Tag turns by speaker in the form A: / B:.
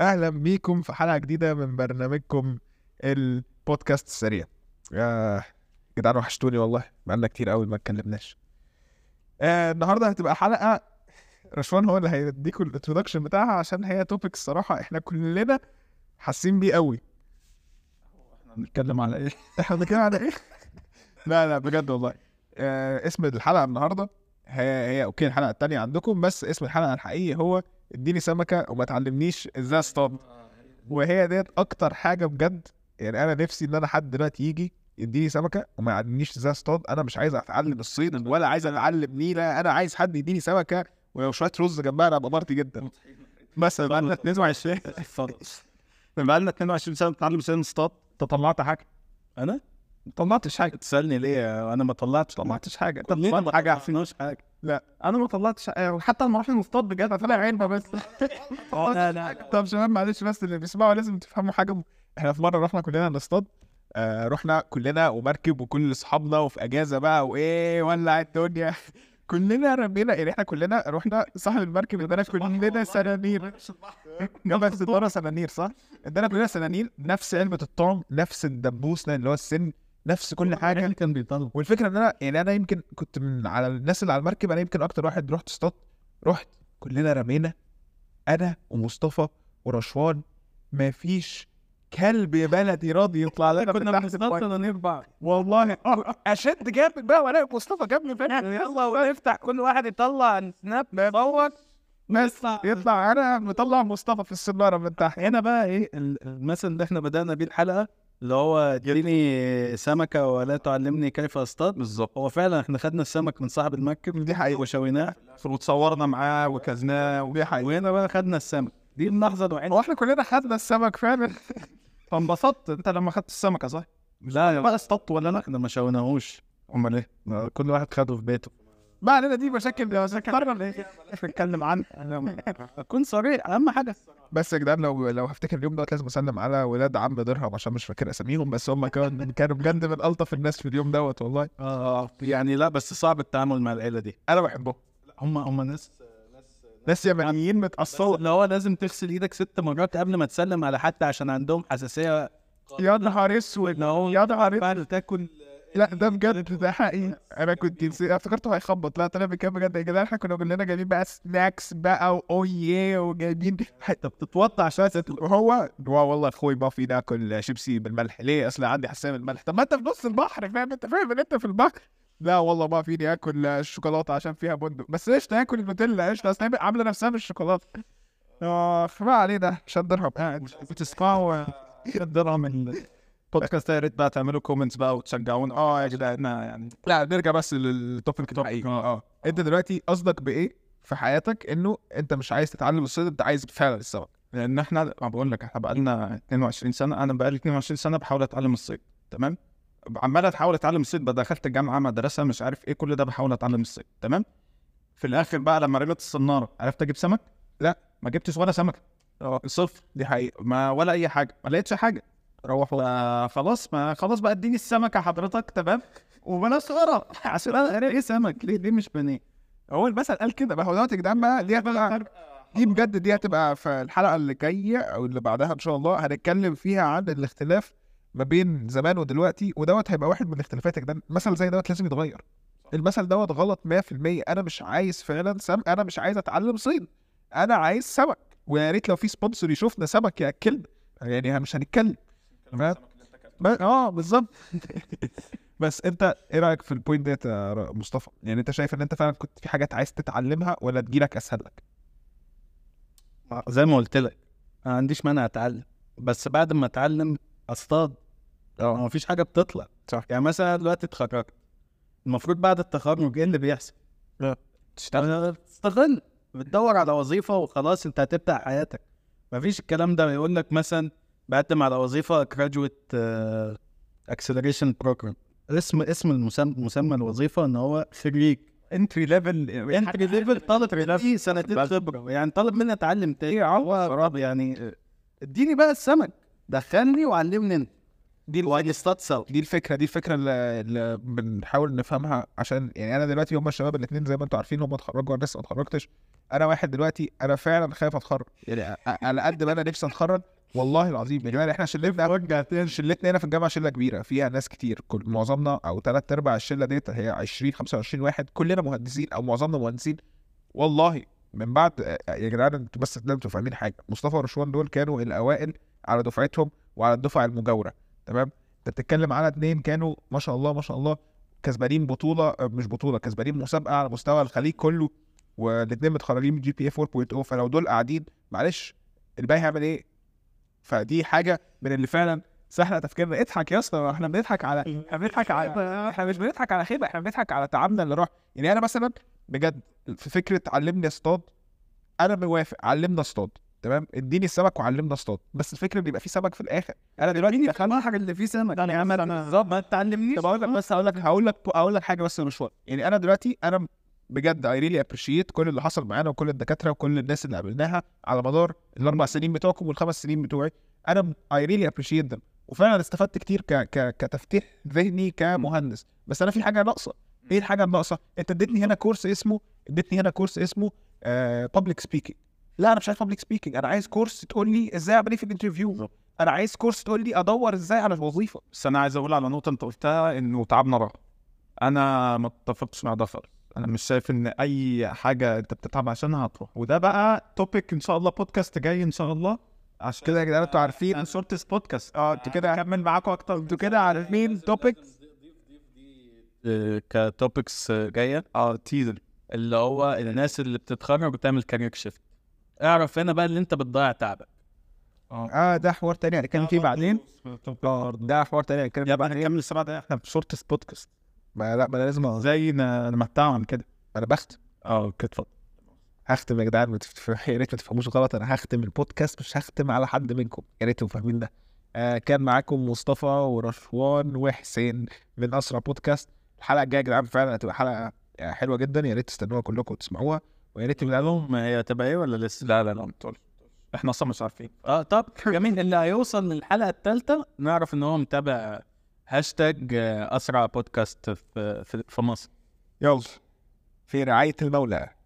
A: اهلا بيكم في حلقه جديده من برنامجكم البودكاست السريع يا جدعان وحشتوني والله بقالنا كتير قوي ما اتكلمناش آه النهارده هتبقى حلقه رشوان هو اللي هيديكوا الانترودكشن بتاعها عشان هي توبيك الصراحه احنا كلنا حاسين بيه قوي
B: احنا بنتكلم على ايه؟
A: احنا بنتكلم على ايه لا لا بجد والله آه اسم الحلقه النهارده هي هي اوكي الحلقه التانية عندكم بس اسم الحلقه الحقيقي هو اديني سمكه وما تعلمنيش ازاي اصطاد وهي ديت اكتر حاجه بجد يعني انا نفسي ان انا حد دلوقتي يجي يديني سمكه وما يعلمنيش ازاي اصطاد انا مش عايز اتعلم الصيد ولا عايز اتعلم نيله انا عايز حد يديني سمكه ولو شويه رز جنبها انا ابقى مرضي جدا مثلا بقالنا 22
B: بقى لنا 22 سنه بنتعلم سن ستات انت طلعت حاجه انا؟ ما طلعتش حاجه تسالني ليه انا ما طلعتش طلعتش حاجه انت
A: كلنا ما
B: طلعت حاجه عارفين
C: طلعناش حاجه
A: لا.
C: انا ما طلعتش حاجة. حتى لما رحنا نصطاد بجد طلع عينها بس لا لا
A: طب شباب معلش بس اللي بيسمعوا لازم تفهموا حاجه م- احنا في مره رحنا كلنا نصطاد آه رحنا كلنا ومركب وكل اصحابنا وفي اجازه بقى وايه ولع الدنيا كلنا رمينا يعني احنا كلنا رحنا صاحب المركب ادانا كلنا سنانير بس ادانا سنانير صح؟ ادانا كلنا سنانير نفس علبه الطعم نفس الدبوس اللي هو السن نفس كل
C: يعني
A: حاجه
B: كان بيطلب
A: والفكره ان انا يعني انا يمكن كنت من على الناس اللي على المركب انا يمكن اكتر واحد رحت اصطاد رحت كلنا رمينا انا ومصطفى ورشوان مفيش كلب يا بلدي راضي يطلع لنا من
C: كنا
A: تحت
C: بنصطاد
A: المية.
C: سنانير بعض
A: والله أه،
C: اشد جامد بقى وانا مصطفى جابني فعلا يلا ونفتح كل واحد يطلع سناب صور
A: بس يطلع انا مطلع مصطفى في السناره من تحت
B: هنا بقى ايه ال- المثل اللي احنا بدانا بيه الحلقه اللي هو اديني سمكه ولا تعلمني كيف اصطاد بالظبط هو فعلا احنا خدنا السمك من صاحب المركب
A: دي حقيقه
B: وشويناه
A: وتصورنا معاه وكلناه ودي حقيقه
B: وهنا بقى خدنا السمك دي اللحظه الوحيده
A: هو احنا كلنا خدنا السمك فعلا
C: فانبسطت انت لما خدت السمكه صح؟
B: لا يا بقى اصطدت ولا لا احنا ما شويناهوش
A: امال ايه؟
B: كل واحد خده في بيته
A: ما علينا دي مشاكل مشاكل
C: نتكلم عنه
B: كن صريح اهم حاجه
A: بس يا جدعان لو لو هفتكر اليوم دوت لازم اسلم على ولاد عم درهم عشان مش فاكر اساميهم بس هم كان كانوا بجد من الطف الناس في اليوم دوت والله
B: اه يعني لا بس صعب التعامل مع العيله دي
A: انا بحبهم
B: هم هم ناس
A: ناس يمنيين متأثروا
B: اللي هو لازم تغسل ايدك ست مرات قبل ما تسلم على حد عشان عندهم حساسيه
A: يا نهار اسود
B: ان هو
A: يا نهار اسود
B: بعد تاكل
A: لا ده بجد ده حقيقي انا كنت نسيت- افتكرته هيخبط لا طلع بكام بجد يا جدعان احنا كنا كلنا جايبين بقى سناكس بقى واويه وجايبين
B: انت بتتوضع عشان تاكل
A: وهو هو والله اخوي ما في ناكل شيبسي بالملح ليه اصل عندي حساسيه من الملح طب ما انت في نص البحر فاهم انت فاهم ان انت في البحر لا والله ما فيني اكل الشوكولاته عشان فيها بندق بس ايش تاكل النوتيلا ايش اصل هي عامله نفسها بالشوكولاته اخ ما علينا عشان درهم قاعد
B: بتسمعوا الدرهم البودكاست يا ريت بقى تعملوا كومنتس بقى وتشجعونا اه يا جدعان يعني آه،
A: لا نرجع بس للتوبيك الحقيقي اه انت دلوقتي قصدك بايه في حياتك انه انت مش عايز تتعلم الصيد انت عايز فعلا السبب
B: لان احنا ما بقول لك احنا بقى لنا 22 سنه انا بقى لي 22 سنه بحاول اتعلم الصيد تمام عمال اتحاول اتعلم الصيد بقى دخلت الجامعه مدرسه مش عارف ايه كل ده بحاول اتعلم الصيد تمام في الاخر بقى لما رميت الصناره عرفت اجيب سمك لا ما جبتش ولا سمكه
A: اه.
B: صفر دي حقيقه ما ولا اي حاجه ما لقيتش حاجه روح بقى خلاص ما خلاص بقى اديني السمكه حضرتك تمام وبلا صغيره عشان انا أنا ايه سمك ليه ليه مش بنيه
A: هو المثل قال كده ما هو دوت يا جدعان بقى دي هتبقى دي بجد دي هتبقى في الحلقه اللي جايه او اللي بعدها ان شاء الله هنتكلم فيها عن الاختلاف ما بين زمان ودلوقتي ودوت هيبقى واحد من الاختلافات يا جدعان مثل زي دوت لازم يتغير المثل دوت غلط 100% انا مش عايز فعلا سمك انا مش عايز اتعلم صيد انا عايز سمك ويا ريت لو في سبونسر يشوفنا سمك ياكلنا يعني مش هنتكلم فاهم؟ ب- اه بالظبط بس انت ايه رايك في البوينت ديت يا ر- مصطفى؟ يعني انت شايف ان انت فعلا كنت في حاجات عايز تتعلمها ولا تجيلك اسهل لك؟
B: ما- زي ما قلت لك انا ما عنديش مانع اتعلم بس بعد ما اتعلم اصطاد
A: اه.
B: ما فيش حاجه بتطلع
A: صح.
B: يعني مثلا دلوقتي اتخرجت المفروض بعد التخرج ايه اللي بيحصل؟
A: اه.
B: تشتغل تستغل بتدور على وظيفه وخلاص انت هتبدا حياتك ما فيش الكلام ده يقول لك مثلا بقدم على وظيفه جراجويت اكسلريشن بروجرام اسم اسم المسمى مسمى الوظيفه ان هو خريج
C: انتري ليفل
B: انتري ليفل طالب ليه سنتين خبره يعني طالب مني آه، اتعلم تاني هو رب يعني اديني بقى السمك دخلني وعلمني انت
A: دي الف-
D: وهنستطسل
A: دي الفكره دي الفكره اللي, اللي بنحاول نفهمها عشان يعني انا دلوقتي هم الشباب الاثنين زي ما انتوا عارفين هم اتخرجوا انا لسه ما اتخرجتش انا واحد دلوقتي انا فعلا خايف اتخرج يعني أ- على قد ما انا نفسي اتخرج والله العظيم يا جماعه احنا شلتنا شلتنا هنا في الجامعه شله كبيره فيها ناس كتير كل معظمنا او ثلاث ارباع الشله ديت هي 20 25 واحد كلنا مهندسين او معظمنا مهندسين والله من بعد آه، يا جدعان انتوا بس لازم تبقوا فاهمين حاجه مصطفى ورشوان دول كانوا الاوائل على دفعتهم وعلى الدفعه المجاوره تمام انت بتتكلم على اتنين كانوا ما شاء الله ما شاء الله كسبانين بطوله اه، مش بطوله كسبانين مسابقه على مستوى الخليج كله والاتنين متخرجين من جي بي اي 4.0 oh. فلو دول قاعدين معلش الباقي هيعمل ايه؟ فدي حاجه من اللي فعلا سهله تفكيرنا اضحك يا اسطى احنا بنضحك على احنا بنضحك على احنا مش بنضحك على خيبه احنا بنضحك على تعبنا اللي راح يعني انا مثلا بجد في فكره علمني اصطاد انا موافق علمنا اصطاد تمام اديني السمك وعلمنا اصطاد بس الفكره ان يبقى في سمك في الاخر انا دلوقتي دخلت
C: الحاجه اللي فيه سمك
A: ده أنا
C: يا عم
A: بس-
C: انا بالظبط ما تعلمنيش
A: طب
B: آه.
A: اقول لك بس هقول لك هقول لك هقول لك حاجه بس يا مشوار يعني انا دلوقتي انا بجد اي ريلي ابريشيت كل اللي حصل معانا وكل الدكاتره وكل الناس اللي قابلناها على مدار الاربع سنين بتوعكم والخمس سنين بتوعي انا اي ريلي ابريشيت ده وفعلا استفدت كتير ك... ك... كتفتيح ذهني كمهندس بس انا في حاجه ناقصه ايه الحاجه الناقصه انت اديتني هنا كورس اسمه اديتني هنا كورس اسمه بابليك سبيكينج لا انا مش عايز بابليك سبيكينج انا عايز كورس تقول لي ازاي اعمل ايه في الانترفيو انا عايز كورس تقول لي ادور ازاي على الوظيفه
B: بس انا عايز اقول على نقطه انت قلتها انه تعبنا راح انا ما اتفقتش مع ده خالص انا مش شايف ان اي حاجه انت بتتعب عشانها هتروح وده بقى توبيك ان شاء الله بودكاست جاي ان شاء الله عشان
A: كده يا جدعان انتوا عارفين
B: كده شورتست بودكاست
A: اه انتوا كده هكمل معاكم اكتر انتوا كده عارفين توبيك
D: آه، كتوبكس جايه
B: اه تيزر
D: آه، اللي هو الناس اللي بتتخرج وتعمل كارير شيفت اعرف هنا بقى اللي انت بتضيع تعبك
A: اه ده حوار تاني هنتكلم فيه بعدين اه ده حوار تاني هنتكلم فيه
B: يا بقى
A: بعدين
B: نكمل السبعه ده احنا في شورتست بودكاست
A: ما لا ما انا لازم أ-
B: زي ن- نمتعهم كده
A: انا بختم
B: اه اوكي اتفضل
A: هختم يا جدعان ما تف- يا ريت ما تفهموش غلط انا هختم البودكاست مش هختم على حد منكم يا ريتوا فاهمين ده آه كان معاكم مصطفى ورشوان وحسين من اسرع بودكاست الحلقه الجايه يا جدعان فعلا هتبقى حلقه آه، حلوه جدا يا ريت تستنوها كلكم وتسمعوها ويا ريت تبقى لهم
D: ما هي هتبقى ايه ولا لسه؟
B: لا لا لا ما تقولش احنا اصلا مش عارفين
D: اه طب جميل اللي هيوصل للحلقه الثالثه نعرف ان هو متابع هاشتاج آه، اسرع بودكاست في في- في مصر
A: يلا في رعايه المولى